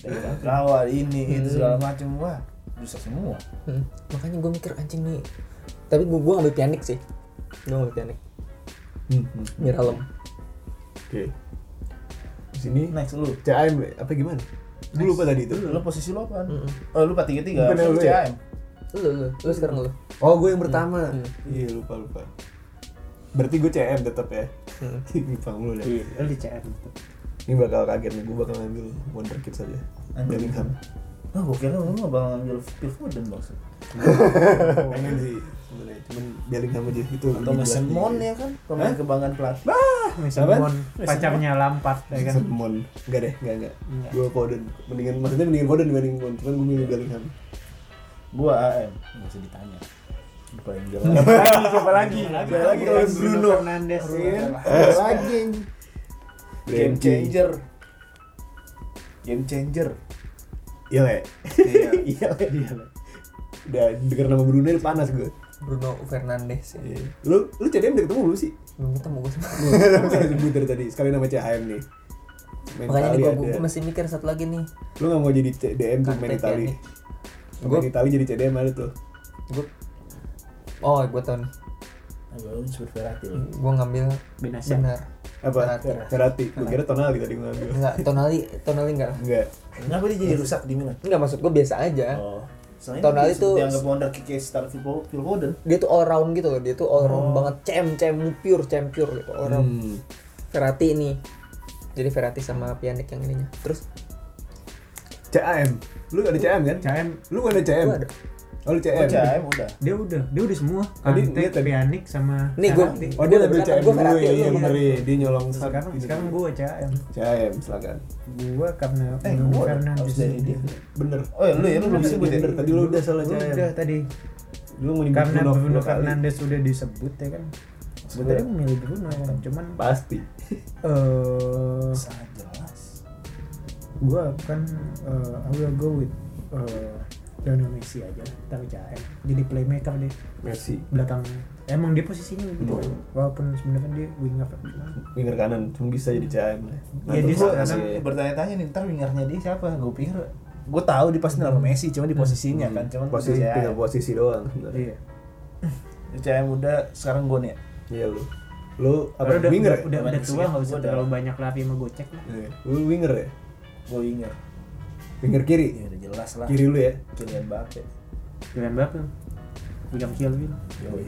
D: Dari kawan ini
C: Hmm.
D: itu segala macam wah rusak semua.
A: Hmm. Makanya gua mikir anjing nih. Tapi gua gua ngambil Pjanic sih. Gua ngambil Pjanic.
C: Hmm, hmm. Oke.
A: Miralem.
C: Di sini
A: Nah.
D: Next lu.
C: CM apa gimana? Gue lupa tadi itu.
D: Lu posisi lu apaan?
A: Mm-mm.
D: Eh, lu 433
C: Hmm. Bukan lu ya?
D: CM.
A: Lu lu, lu sekarang lu.
C: Oh, gue yang pertama.
A: Hmm.
C: Iya, lupa lupa. Berarti gue CM tetap ya.
A: Hmm.
C: Lupa mulu deh.
B: Iya, lu di CM tuh.
C: Ini bakal kaget nih, gue bakal ngambil wonderkid saja.
D: Anjing.
C: Bellingham.
D: Oh, gue kira lu nggak bakal ngambil Phil Foden maksud.
C: Pengen sih sebenarnya, cuman Bellingham aja gitu.
D: Atau Mason Mount ya kan, pemain kebanggaan pelatih.
B: Mason
C: Apa?
B: Mount, pacarnya Lampard ya kan
C: Mason Mount. Enggak deh, enggak enggak.
B: Enggak.
C: Gue Foden. Mendingan maksudnya mendingan Foden dibanding Mount, cuman gue milih Bellingham.
D: Gua AM, nggak usah ditanya. Udah paling jelas.
C: Iya,
B: siapa lagi siapa lagi
C: kalau Bruno.
B: Fernandes
D: Iya.
C: Lagi.
D: Game changer. Game changer.
C: Iya, Le.
D: Iya.
C: Iya, Le.
B: Iya, lah.
C: Udah denger nama Brunei udah panas gue.
A: Bruno Fernandes ya.
C: Iya. Lu lu CDM udah ketemu lu sih.
A: Belum ketemu gua sama.
C: Lu saya sebut dari tadi sekali nama CHM nih. Main
A: Makanya nih
C: Itali
A: gua,
C: ada.
A: gua masih mikir satu lagi nih.
C: Lu gak mau jadi CDM tuh main
A: Kante,
C: Itali.
A: Pjanic.
C: Main
A: Gua-
C: Itali jadi CDM ada tuh.
A: Gua Oh, gua tau nih.
D: Baru disebut Verratti
C: Hmm.
D: loh.
A: Gua ngambil
B: Benasya.
A: benar.
C: Apa?
A: Verratti.
C: Ferrati. Lu kira Tonali tadi gua ngambil.
A: Enggak, Tonali, Tonali enggak.
C: Enggak.
D: Kenapa dia jadi rusak di Milan?
A: Enggak maksud gua biasa aja.
D: Oh. Soalnya
A: Tonali
D: dia
A: tuh-
D: dianggap wonder kick kayak star Phil Fo- Phil Foden.
A: Dia tuh all round gitu loh, dia tuh all round banget, cem cem pure, cem pure gitu, all round.
C: Oh. Hmm.
A: Verratti nih. Jadi Verratti sama Pjanic yang ininya. Terus
C: CAM. Lu ada CAM kan?
B: CM
C: Lu gak ada CM?
A: Gua ada.
C: Oh, lu
D: Oh,
C: CM.
D: CM udah.
B: dia udah dia udah semua
C: Tadi
B: Kante,
C: dia tadi-
B: Pianik sama
A: nih gua
B: Ferrati.
C: Oh, dia
A: gua
C: ngambil
A: udah
C: CM
A: bilang, gua
C: dulu
A: Verratti,
C: ya,
A: lu
C: iya
A: Verratti.
C: bener ya. Dia nyolong
B: sekarang
C: ini.
B: sekarang gua CM
C: CAM, silakan.
B: gua karena
D: Eh,
B: Bruno
D: gua udah.
B: Fernandes.
D: Harus dari dia.
C: Bener.
D: Oh, ya, lu ya lu belum sebut ya.
C: Bener, tadi lu udah salah
B: Gua
C: CAM.
B: udah tadi
C: Lu mau nyebut
B: karena
C: Bruno
B: Bruno
C: dua kali.
B: Fernandes sudah disebut ya kan sebenarnya
C: Sebenarnya.
B: memilih Bruno ya kan cuman
C: Pasti.
B: eh
D: Sangat jelas.
B: gua kan eh, I will go with eh, Lionel Messi aja lah, tapi CM jadi playmaker deh
C: Messi.
B: belakang emang dia posisinya gitu kan walaupun sebenarnya dia winger
C: winger kanan cuma bisa jadi CM lah.
B: Iya, dia
D: Gua
B: sekarang
D: masih bertanya-tanya nih, ntar wingernya dia siapa? Gue pikir gue tahu di pasti nama Messi, cuma di posisinya kan, cuman
C: posisi
D: CM.
C: tinggal posisi doang sebenarnya.
B: iya
D: CM udah sekarang gue nih. ya.
C: Iya lu. Lu apa
B: Padahal udah,
C: winger?
B: udah,
C: ya?
B: udah, udah tua
D: Winger.
B: nggak usah
D: Gua udah-
B: terlalu banyak lari sama gocek lah.
C: Iya. Lu winger ya?
D: Gue winger.
C: Winger kiri.
D: Ya udah jelas lah.
C: Kiri lu ya.
D: Kylian Mbappe.
B: Kalian berapa? Bilang kill bilang.
D: Yoi.
B: Lu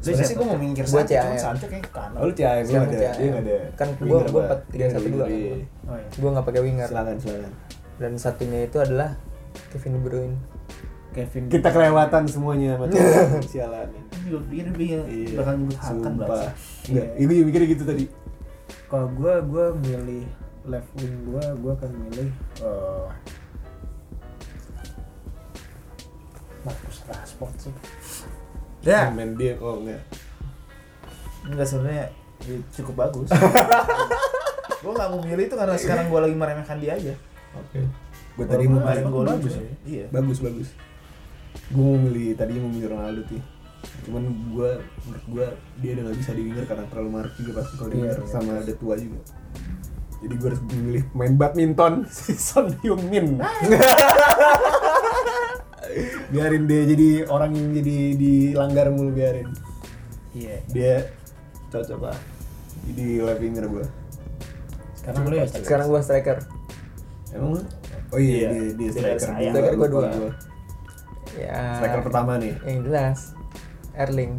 D: Sebenarnya sih
B: siapa?
D: gue mau minggir
A: Gua
D: Sancho, cuman
A: CAM.
D: Sancho kayak ke kanan.
C: Oh, lu CAM lu
A: Siapa
C: ada.
A: CAM?
C: Dia enggak ada.
A: Kan gua-
C: winger,
A: gua
C: Pak.
A: empat-
C: Dia nggak ada
A: 3-1-2
C: winger,
A: kan.
C: iya.
B: Oh iya.
A: gue nggak pakai winger
C: Silakan, silakan.
A: dan satunya itu adalah Kevin De Bruyne
B: Kevin.
C: Kita kelewatan semuanya macam sialan.
D: Gue pikir dia bakal nyebut Hakan
C: Iya. Sumpah.
A: Iya.
D: berasa.
C: Enggak, itu juga mikirnya gitu tadi.
B: Kalau gue gue milih left wing gue gue akan milih eh, Marcus Rashford sih.
D: Ya,
C: Main dia oh, kok enggak.
D: enggak sebenarnya ya, cukup bagus. gue nggak mau milih itu karena sekarang gue lagi meremehkan dia aja.
C: Oke. Gua tadi mau
D: Walaupun
C: main
D: gol
B: bagus
D: juga. Iya.
C: bagus bagus gue mau milih tadinya mau milih Ronaldo sih cuman gue menurut gue dia udah gak bisa di winger karena terlalu marah juga pasti kalau di
B: Iya,
C: winger
B: iya.
C: sama ada tua juga jadi gue harus memilih main badminton si Son Heung Min biarin dia jadi orang yang jadi dilanggar mulu biarin
B: Iya.
C: dia cocok lah jadi left winger gue
B: Sekarang lu ya. Cek.
A: sekarang gue striker
C: emang lu? oh iya,
D: Iya.
C: dia, dia
D: Dia
C: striker
D: sayang.
A: Striker gua
C: Lupa
A: dua. ya
C: striker pertama nih
A: yang jelas Erling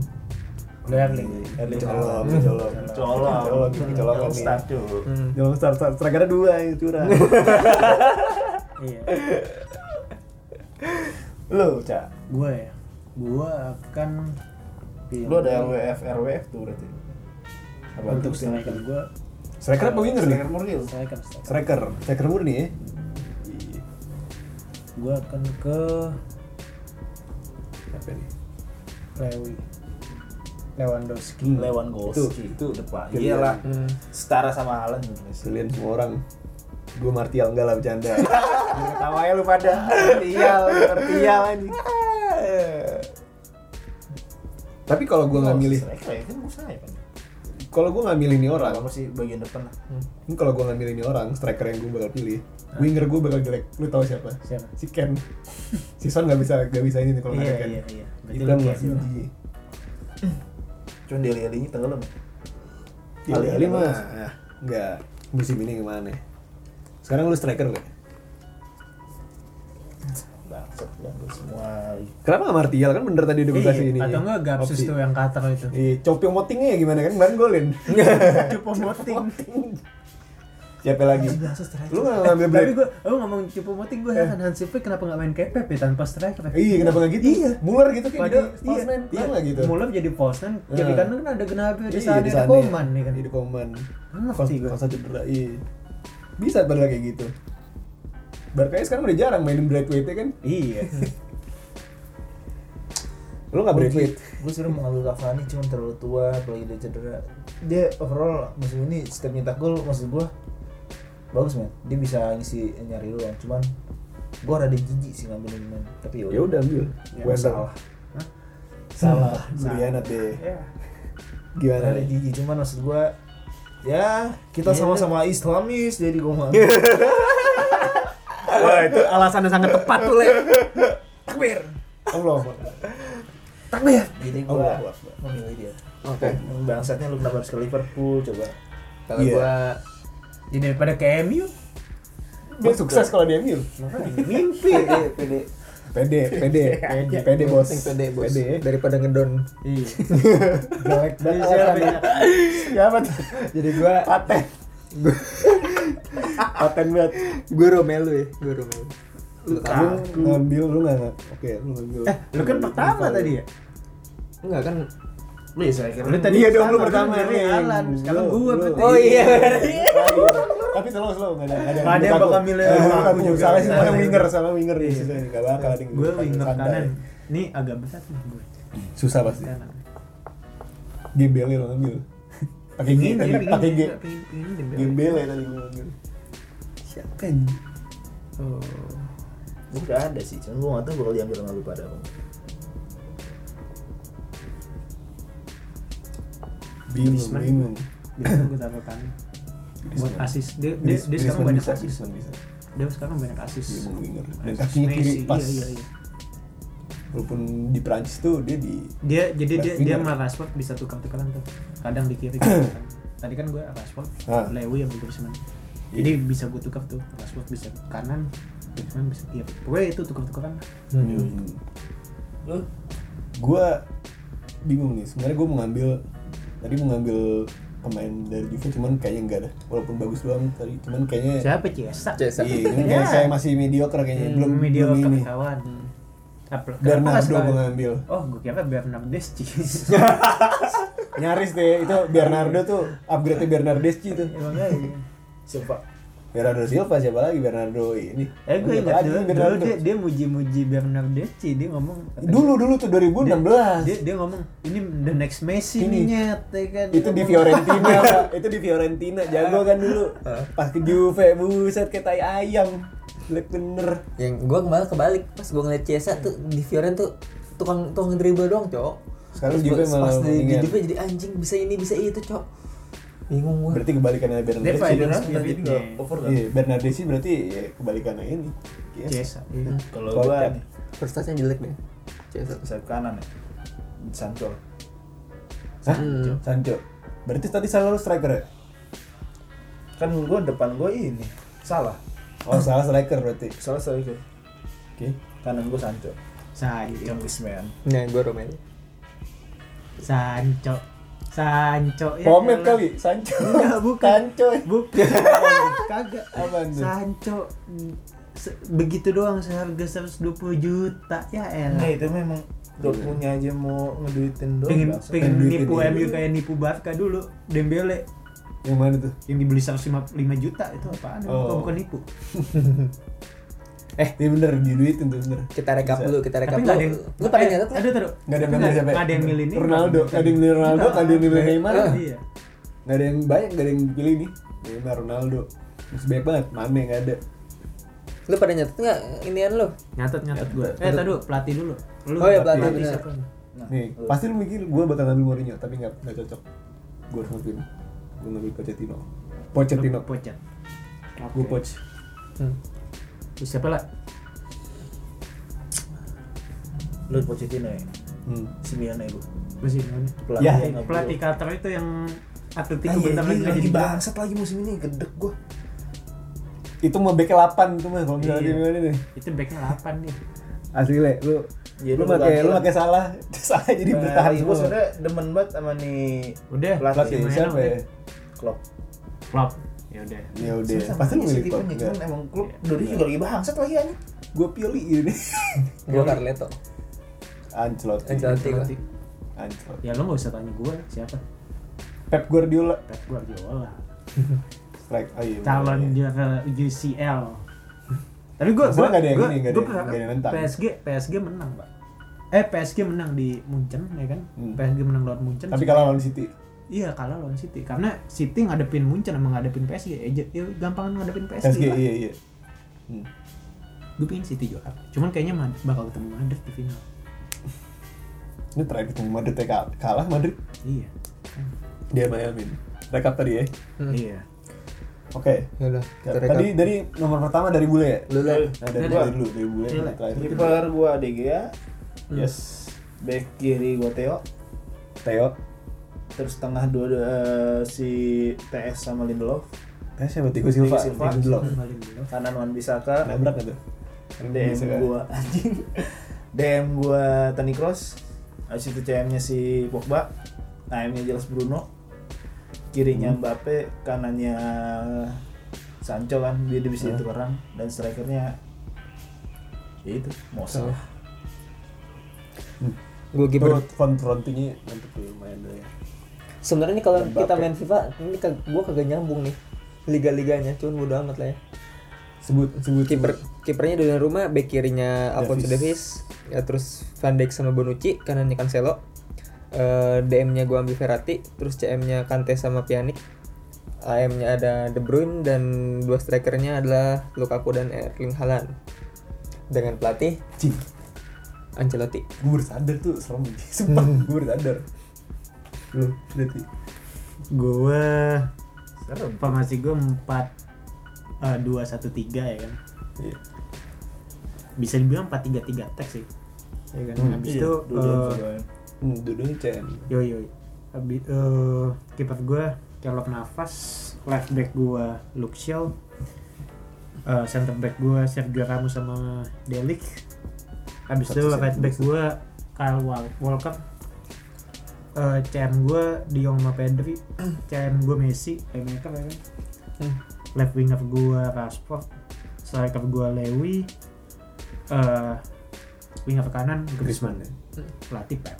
B: Lu Erling.
C: Erling
D: Erling
C: colok,
D: Haaland.
C: colok,
D: Colong.
C: colok, colok,
D: Colong start
C: colok,
D: dulu.
A: hmm.
C: Jangan start, start, strikernya dua yang curang.
B: Iya.
D: Lu, Cak.
B: Gue ya. Gue akan.
C: Iya.
D: Lu ada RWF, RWF tuh berarti. Apa
B: Untuk
D: tipsnya?
B: striker gue.
C: striker apa winger nih?
D: Striker Murgil.
B: Striker. Striker.
C: Striker, striker murni ya.
B: Gue akan ke
C: Apa nih?
B: Lewi. Lewandowski.
C: Hmm.
D: Lewandowski
C: Itu, itu.
D: depan.
C: Pilihan.
D: Iyalah,
A: Hmm.
D: Iya setara sama Haaland sebenarnya.
C: Kalian semua orang. Gue Martial enggak lah bercanda. Ketawanya lu pada. Martial, Martial anjing. Tapi kalau gue nggak
D: Oh,
C: milih,
D: Striker ya kan Musa ya kan.
C: kalau gue nggak milih nih orang,
D: Apa sih bagian depan lah.
C: ini kalau gue nggak milih nih orang, striker yang gue bakal pilih, winger gue bakal jelek. Lu tahu siapa?
B: Siapa?
C: Si Ken. Si Son nggak bisa nggak bisa ini nih kalau nggak
B: Iya
C: ada Ken.
B: iya iya. Berarti
C: Itu
B: lu
C: kan
B: kayak
C: masih
B: gitu.
C: uji.
D: Cuman Deli Alinya tenggelam. ya?
C: Kali
D: Alih-alih
C: kali mah ah, nggak musim ini kemana? Sekarang lu striker nggak?
D: Bangsat lah lu semua.
C: Kenapa nggak Martial kan bener tadi udah gue kasih
B: Iya,
C: ini.
B: Atau enggak Gapsus tuh yang Qatar itu.
C: Iya, coping motingnya ya gimana kan ban golin.
B: Cupo moting.
C: Siapa lagi? Lu nggak ngambil
B: Tapi
C: break?
B: gue, lu ngomong cupo moting gue heran Hansi Flick kenapa nggak main kepep ya tanpa striker? ya?
C: Iya, kenapa nggak gitu?
B: Iya.
C: Muller gitu kayak dia.
B: Padahal iya,
C: iya,
B: iya,
C: nggak gitu.
B: Muller jadi Poznan,
C: Eh.
B: jadi kan kan ada Gnabry di
C: Iya,
B: sana,
C: di
B: ada
C: sana.
B: Koman nih kan.
C: Iya, di Koman.
B: Ngerti gue.
C: Masa cedera, iya. Bisa padahal kayak gitu. Barkanya sekarang udah jarang mainin Braithwaite kan?
B: Iya.
C: Lu nggak Braithwaite?
D: Gue sebenernya mau ngambil Cavani cuman terlalu tua apalagi dia cedera. Dia overall musim ini setiap nyetak gol maksud gue bagus men. Dia bisa ngisi nyari ruang cuman gue rada jijik sih ngambilin men. Tapi
C: Ya udah ambil.
D: Ya,
C: Gue
D: salah.
B: Hah?
D: Salah. eh,
C: Berkhianat deh.
B: Iya.
C: Gimana?
D: Rada jijik cuman maksud gue ya kita
B: Iya.
D: sama-sama Islamis jadi gue mau
C: Wah itu alasannya sangat tepat tuh Le.
B: Takbir.
C: Allah.
B: Takbir.
D: jadi gue
C: Allah, Allah, Allah.
D: memilih dia.
A: oke
D: Yang Bangsatnya lu kenapa harus ke Liverpool coba?
A: kalau
C: Iya.
A: gua
B: Jadi daripada ke MU,
C: Dia sukses kalau dia MU.
B: makanya mimpi.
C: Iya,
D: Pede, pede.
C: Pede, pede, pede, pede
A: yang
C: bos.
A: penting pede bos
C: Pede.
A: daripada ngedon
B: Iya.
C: Jelek banget. alasannya.
D: Siapa tuh?
A: jadi gua
C: Paten. Paten banget.
A: gua Romelu ya gua Romelu
C: Lu ngambil, lu nggak nggak- Oke, lu ngambil.
B: Eh, lu kan pertama tadi ya?
A: enggak kan
D: Lu ya striker.
B: Lu tadi
C: Iya dong, lu
B: kan
C: pertama
B: dari
C: nih.
B: Alan. Sekarang
C: Lu,
B: gua
C: lu.
B: berarti.
A: oh iya
C: Lagi. Tapi slow slow nggak ada nggak ada.
B: Nggak ada yang
C: menurut
B: bakal
C: aku.
B: milih
C: Eh, menurut
B: orang
C: aku.
B: juga.
C: Salah sih Iya.
B: Iya.
C: salah winger, salah winger di sini nggak bakal ada yang
B: Gue
C: dipakai
B: winger
C: santai.
B: kanan. Nih agak besar nih gue.
C: Susah pasti.
B: Kanan.
C: Gembele lo ngambil. Pakai Iya, G, tadi.
B: Pingin,
C: pakai G.
B: pingin, pingin, pingin, pingin.
C: Gembele tadi gue ngambil. Siapa ini?
B: Oh.
D: Gue udah ada sih, cuman gue gak tau bakal diambil sama lu pada apa.
C: Bingung,
B: Griezmann.
C: bingung.
B: Biasanya gue taruh kanan. Buat asis. Dia, dia, dia sekarang banyak
C: bisa,
B: asis.
C: Griezmann bisa. Iya,
B: Dia sekarang banyak asis.
C: Dia mau winger. Dan
B: Asis
C: kakinya kiri
B: Messi,
C: pas.
B: Iya, iya, iya.
C: walaupun di Prancis tuh dia di
B: dia jadi dia
C: Left
B: dia
C: winger.
B: sama Rashford bisa tukar-tukaran kan tuh kadang di kiri kadang di kanan. tadi kan gue Rashford
C: Ah. Iya.
B: Lewy yang bener semen jadi bisa gue tukar tuh Rashford bisa ke kanan Griezmann bisa kiri pokoknya itu tukar-tukaran
C: Hmm.
D: Lu
C: gua bingung nih sebenarnya gua mau ngambil tadi mau ngambil pemain dari Juve cuman kayaknya enggak ada walaupun bagus doang tadi cuman kayaknya
B: siapa Hmm, Ciesa
A: Cesa.
C: iya cuman kayak
B: Ya.
C: saya masih mediocre kayaknya belum
B: media
C: belum ini
B: kawan Apa- kenapa nggak
C: Bernardo
B: suka-
C: gua ngambil
B: Oh, gue kira Iya, Bernardeschi.
C: nyaris deh itu Bernardo tuh upgrade nya Bernardeschi tuh
D: siapa?
C: Bernardo Silva siapa lagi Bernardo ini
B: Eh, gue ingat
C: Siapa lagi
B: dulu, dulu
C: Bernardo?
B: dia, dia muji-muji Bernardeschi, dia ngomong
C: dulu dulu tuh 2016
B: dia, dia ngomong ini the next Messi
C: Ini.
B: nih nyet ya kan
C: itu di Fiorentina Pak. itu di Fiorentina jago kan dulu pas ke Juve buset kayak tai ayam jelek bener
A: yang gue malah kebalik pas gue ngeliat Cesa tuh di Fioren tuh tukang tukang dribble doang cok
C: Sekarang
A: Terus
C: Juve
A: pas-
C: malah
A: pas di, di
C: mendingan.
A: Juve jadi anjing bisa ini bisa itu cok bingung gue
C: berarti kebalikannya
B: Dia
C: Bernardo
B: Pak,
C: Silva
B: dia-
D: Cedera tapi juga
B: Iya.
D: over kan?
C: Iya, Bernardeschi berarti ya, kebalikannya ini. Yes.
B: Cesa iya.
D: Kalau
C: Kalau
D: gua
C: kan.
D: nih,
A: prestasinya jelek deh Cesa
D: sayap kanan ya. Sancho.
C: Hah?
A: Hmm.
C: Sancho. Berarti tadi selalu striker ya?
D: Kan gua depan gua ini. Salah.
C: Oh, salah striker berarti.
D: Salah striker.
C: Oke.
D: Kanan gua Sancho.
B: Sancho
D: Englishman.
A: nah gue Romelu
B: Sancho Sancho ya
C: Pomet
B: elah.
C: kali, Sancho.
B: Enggak, bukan.
C: Sancho.
B: bukan kagak
C: Apaan tuh?
B: Sancho mm, se- begitu doang seharga 120 juta ya elah
D: Nah itu memang Dortmundnya aja mau ngeduitin doang.
B: pengen
D: bangsa.
B: pengen
C: duitnya
B: nipu
C: dia.
B: MU kayak nipu Barca dulu Dembele
C: Yang mana tuh?
B: yang dibeli 155 juta itu apaan
C: Oh.
B: oh. bukan nipu
C: Eh, ini bener diduitin tuh bener.
A: kita rekap
C: Bisa.
A: dulu kita rekap
B: tapi nggak
A: dulu
B: ada yang
A: lu pada
B: eh,
A: nyatet nggak?
B: aduh taruh
C: Enggak ada yang
B: Tapi
C: ngambil siapa? ya?
B: nggak ada yang milih ini
C: Ronaldo, enggak ada yang milih Ronaldo, enggak ada yang milih Neymar.
B: iya
C: Enggak ada yang banyak, enggak ada yang pilih nih. Neymar, Ronaldo. Masih banyak banget, Mane enggak ada.
A: lu pada nyatet nggak inian lu
B: nyatet nyatet gue eh
A: Nyatet.
B: tadu pelatih dulu lu
A: Oh iya,
B: pelatih,
A: pelatih, bener.
B: siapa
D: Nah,
C: Nih,
D: lu-
C: pasti lu mikir gue bakal ngambil Mourinho, tapi nggak nggak cocok. Gue harus ngambil, gue ngambil Pochettino. Pochettino,
B: Lu ya? pocet
C: gue poch.
A: Hmm.
B: Terus siapa lah
D: lu Pochettino ya.
C: Hmm.
D: Simeone gua.
B: masih mana
D: Iya, Pelatih
C: Ya,
D: yang nggak
B: pelatih
D: perlu.
B: Qatar itu yang
D: Ah,
B: Atletico
D: iya,
B: bentar lagi
D: iya,
B: nggak
D: lagi
B: jadi
D: bangsat lagi musim ini gedek gua.
C: Itu mau back 8 itu mah kalau misalnya
B: Iya.
C: tim ini nih.
B: itu backnya 8 nih
C: Asli le, lu
D: Iya,
C: lu
D: lu
C: pakai
D: ganti
C: lu
D: lah.
C: pakai salah, salah jadi
D: Nah,
C: bertahan
D: Gua
C: semua.
D: sebenernya demen banget sama nih
B: udah
D: Pelatih,
C: Pelatih
B: Gimana,
C: siapa ya?
B: udah?
D: Klopp.
B: Klopp ya udah
C: Ya udah,
D: Sebenarnya sama
C: pasti lu
D: aja sih
C: milih Klopp.
D: tipenya, cuman
C: enggak?
D: emang klub dari juga lagi bangsat lagi anjing.
C: Gue pilih ini.
A: gue Carleto
C: Ancelotti.
A: Ancelotti gue
B: Pelatih.
C: Ancelotti.
B: ya lo nggak usah tanya gue siapa
C: Pep Guardiola.
B: Pep
C: Iya,
B: Guardiola
C: Strike. Oh, iya,
B: calon
C: iya.
B: juara UCL tapi gue
C: Masalah nggak ada yang
B: gue
C: ini, nggak ada
B: gue
C: yang- nggak ada yang nentang.
B: PSG PSG menang pak eh PSG menang di Munchen ya kan
C: Hmm.
B: PSG menang lawan Munchen
C: Tapi kalau lawan City,
B: iya kalah lawan City karena City ngadepin Munchen sama ngadepin PSG ya, j- ya gampang ngadepin PSG,
C: PSG
B: Pak.
C: iya iya. Hmm.
B: gue pengen City juara cuman kayaknya Madrid bakal ketemu Madrid di final
C: Ini terakhir ketemu Madrid ya, kal- kalah Madrid.
B: iya
C: Dia Miami. Rekap tadi ya.
A: Hmm.
B: iya
C: Oke.
A: ya udah kita rekap
C: Tadi dari nomor pertama dari bule ya.
A: lu lah
C: Nah, dari
B: Dari
C: bule
D: gua.
C: dulu, dari bule
B: Bule.
C: terakhir.
D: Kiper gua De Gea,
C: Yes.
D: back kiri gua Theo,
C: Theo.
D: terus tengah dua eh, si TS sama Lindelof,
C: Eh siapa Tigo Silva?
D: Thiago Silva.
C: Tigo Silva.
B: Kembali dulu.
D: kanan Wan Bisaka,
C: Nabrak nggak tuh? Iya,
D: DM gua anjing. DM gua Toni Kroos, habis itu CM-nya si Pogba, AM-nya jelas Bruno, kirinya Mbappe, kanannya Sancho kan, dia dia bisa
C: Hmm.
D: itu orang dan strikernya ya itu Mosa.
A: gue
C: Kiper
A: kiper
C: konfrontingnya mantep tuh lumayan tuh ya.
A: sebenarnya nih kalau
C: Mbappe.
A: kita main FIFA ini kag gue kagak nyambung nih liga-liganya cuman bodo amat lah ya
C: Sebut sebut
A: kiper
C: sebut.
A: kipernya dari rumah back kirinya Alfonso Davies ya terus Van Dijk sama Bonucci kanannya Cancelo Eh, DM-nya gua ambil Verratti terus CM-nya Kante sama Pjanic AM-nya ada De Bruyne dan dua strikernya adalah Lukaku dan Erling Haaland dengan pelatih
C: Cing,
A: Ancelotti
C: gue baru sadar tuh serem banget. Sumpah,
A: Hmm.
C: gue baru sadar. Lu lihat nih.
B: gue
D: Serem.
B: formasi gue empat dua satu tiga ya kan
C: Iya.
B: bisa dibilang empat tiga tiga teks sih ya kan
C: Hmm.
B: habis
D: Iya,
B: itu
D: dua-duanya
B: eh,
D: pegawai.
C: Hmm, dua-duanya CM.
B: Yoi yoi. Abi, eh kiper gue kelok nafas, left back gue Luke Shaw, eh, center back gue Sergio Ramos sama Delik. Habis itu
C: Satu center
B: right back gue Kyle Wal- Walker. Eh, CM gue Dion sama Pedri, CM gue Messi, playmaker ya kan.
A: Hmm.
B: Left winger gue Rashford, striker gue Lewi, eh winger kanan
C: Griezmann ya.
B: pelatih Pep.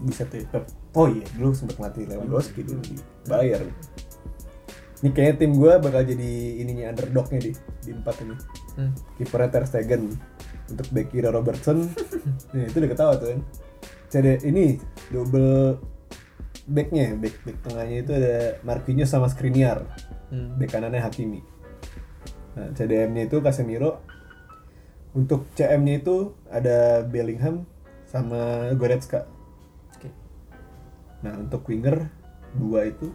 C: Bisa tuh. ya, Pep. Oh iya, dulu sempet ngelatih Lewandowski dulu di Bayern. Ini kayaknya tim gue bakal jadi ininya underdognya di di empat ini.
A: Hmm.
C: Kipernya Ter Stegen untuk back kiri Robertson. Nih, itu udah ketawa tuh kan. CD ini double backnya, ya, back back tengahnya itu ada Marquinhos sama Skriniar.
A: Hmm.
C: Bek kanannya Hakimi. Nah, CDM-nya itu Casemiro. Untuk CM-nya itu ada Bellingham sama Goretzka.
A: Oke.
C: Nah, untuk winger dua itu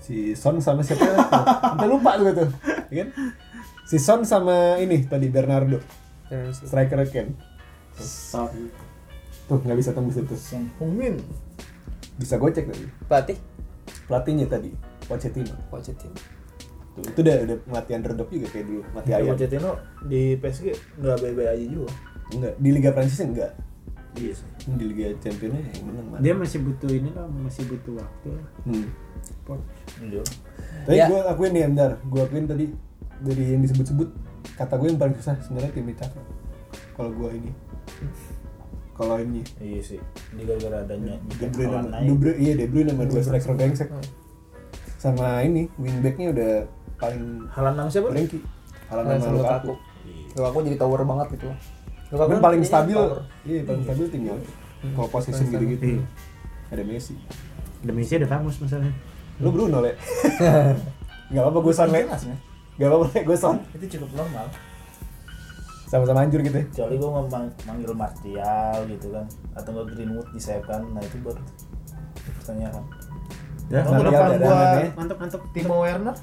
C: si Son sama siapa? Kita lupa tuh tuh. Ya kan? Si Son sama ini tadi Bernardo,
A: Keren sih.
C: striker Ken. Tuh nggak bisa tembus itu.
D: Son Heung-min.
C: Bisa gocek tadi.
A: Pelatih
C: Pelatihnya tadi Pochettino.
A: Pochettino.
C: Tuh, itu udah udah mati underdog juga kayak dulu, mati
D: Iya,
C: ayam.
D: Pochettino di PSG nggak baik-baik aja juga.
C: Enggak, di Liga Prancis enggak.
D: Iya sih.
C: di Liga Champions yang menang mana?
B: dia masih butuh ini lah masih butuh waktu lah
C: Hmm.
B: Pok.
D: Iya.
C: Tapi
A: Ya.
C: gue akuin nih Endar, gue akuin tadi dari yang disebut-sebut kata gue yang paling susah sebenarnya tim Cakra. Kalau gue ini, kalau ini,
D: Iya sih. Ini gara-gara adanya
C: De Bruyne,
D: Haaland
C: sama-
D: naik.
C: De Bruyne, iya De Bruyne sama dua
A: Dua
C: striker brengsek.
A: Hmm.
C: Sama ini wingbacknya udah paling
D: Haaland nama siapa?
C: Franky. Halaman
A: Keren sama
C: sama
A: Lukaku.
C: Lukaku.
A: Lukaku jadi tower banget gitu.
C: Tapi
A: kan
C: paling
A: jadinya
C: stabil,
A: tower.
C: iya paling stabil timnya. Kalau position
A: Hmm. Paling stabil.
C: gitu-gitu,
B: Iya.
C: ada Messi.
B: demi sih ada tamus misalnya
C: Lu Bruno le, nggak apa-apa gue son le,
D: Jelas, ya.
C: nggak apa-apa le gue son.
D: Itu cukup normal.
C: Sama-sama anjur gitu ya.
D: Kecuali gue mau mang- manggil Martial gitu kan atau nggak Greenwood disayapkan, nah itu kan. baru pertanyaan.
C: Ya,
D: Atau
C: Martial
D: depan
C: dadangan
D: gua-
C: ya.
B: mantap mantap
D: Timo Werner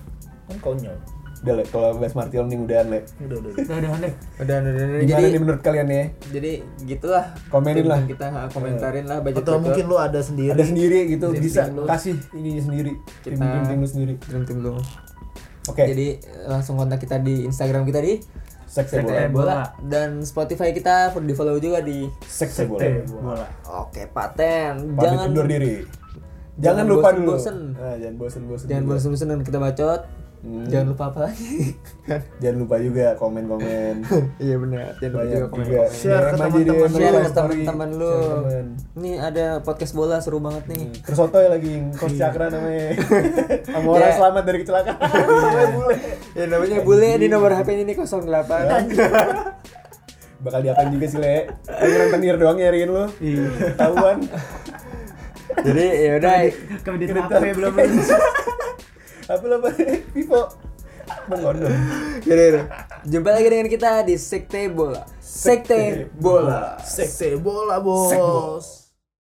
D: kan konyol.
C: Udah, Le, kalau bahas Martial nih udahan, Le.
D: Udah udah. udah.
B: udah ada aneh
A: Udah, udah, udah, udah.
C: Gimana
A: Jadi
C: nih menurut kalian ya?
A: jadi gitulah.
C: Komenin
A: Tim
C: lah. Eh,
A: Kita ha, komentarin lah budget
D: Atau mungkin lu ada sendiri.
C: Ada sendiri gitu,
A: Tim-tim
C: bisa
A: lu.
C: kasih ininya sendiri. Tim,
A: Kita-
C: tim, tim lu sendiri.
A: dream team lu.
C: Oke,
A: Jadi eh, langsung kontak kita di Instagram kita di
C: sekte
B: Bola.
C: bola.
A: bola dan Spotify kita di follow juga di
C: Sekte bola.
B: bola
A: Oke paten
C: Pamit
A: ya, jangan
C: undur diri. Jangan,
A: jangan
C: lupa dulu.
A: bosen-bosen.
C: Nah, jangan bosen-bosen.
A: jangan
C: juga.
A: bosan-bosan dan kita bacot
C: Hmm.
A: jangan lupa apa lagi
C: Jangan lupa juga komen-komen.
A: iya benar jangan lupa
C: Banyak
A: juga komen
C: juga.
D: Share ke
C: DM aja, DM
D: teman-teman.
C: lu,
A: share ke
C: story.
A: teman-teman lu
C: Share ke teman.
A: nih ada podcast bola seru banget nih
C: Terus Otoy lagi Coach Cakra namanya. Sama orang
A: Ya.
C: selamat dari kecelakaan. Namanya bule.
A: ya namanya bule di nomor HP ini nih 08
C: Bakal diapain juga sih, Le. Lu rentenir doang nyariin lu.
B: iya
C: Ketahuan.
A: jadi ya udah
B: kredit HP
C: Kredit HP.
B: ya, belum lagi
C: apa lo apa Vivo mengondong
A: Yaudah, yaudah. jumpa lagi dengan kita di sekte bola sekte bola
D: Sekte bola bos.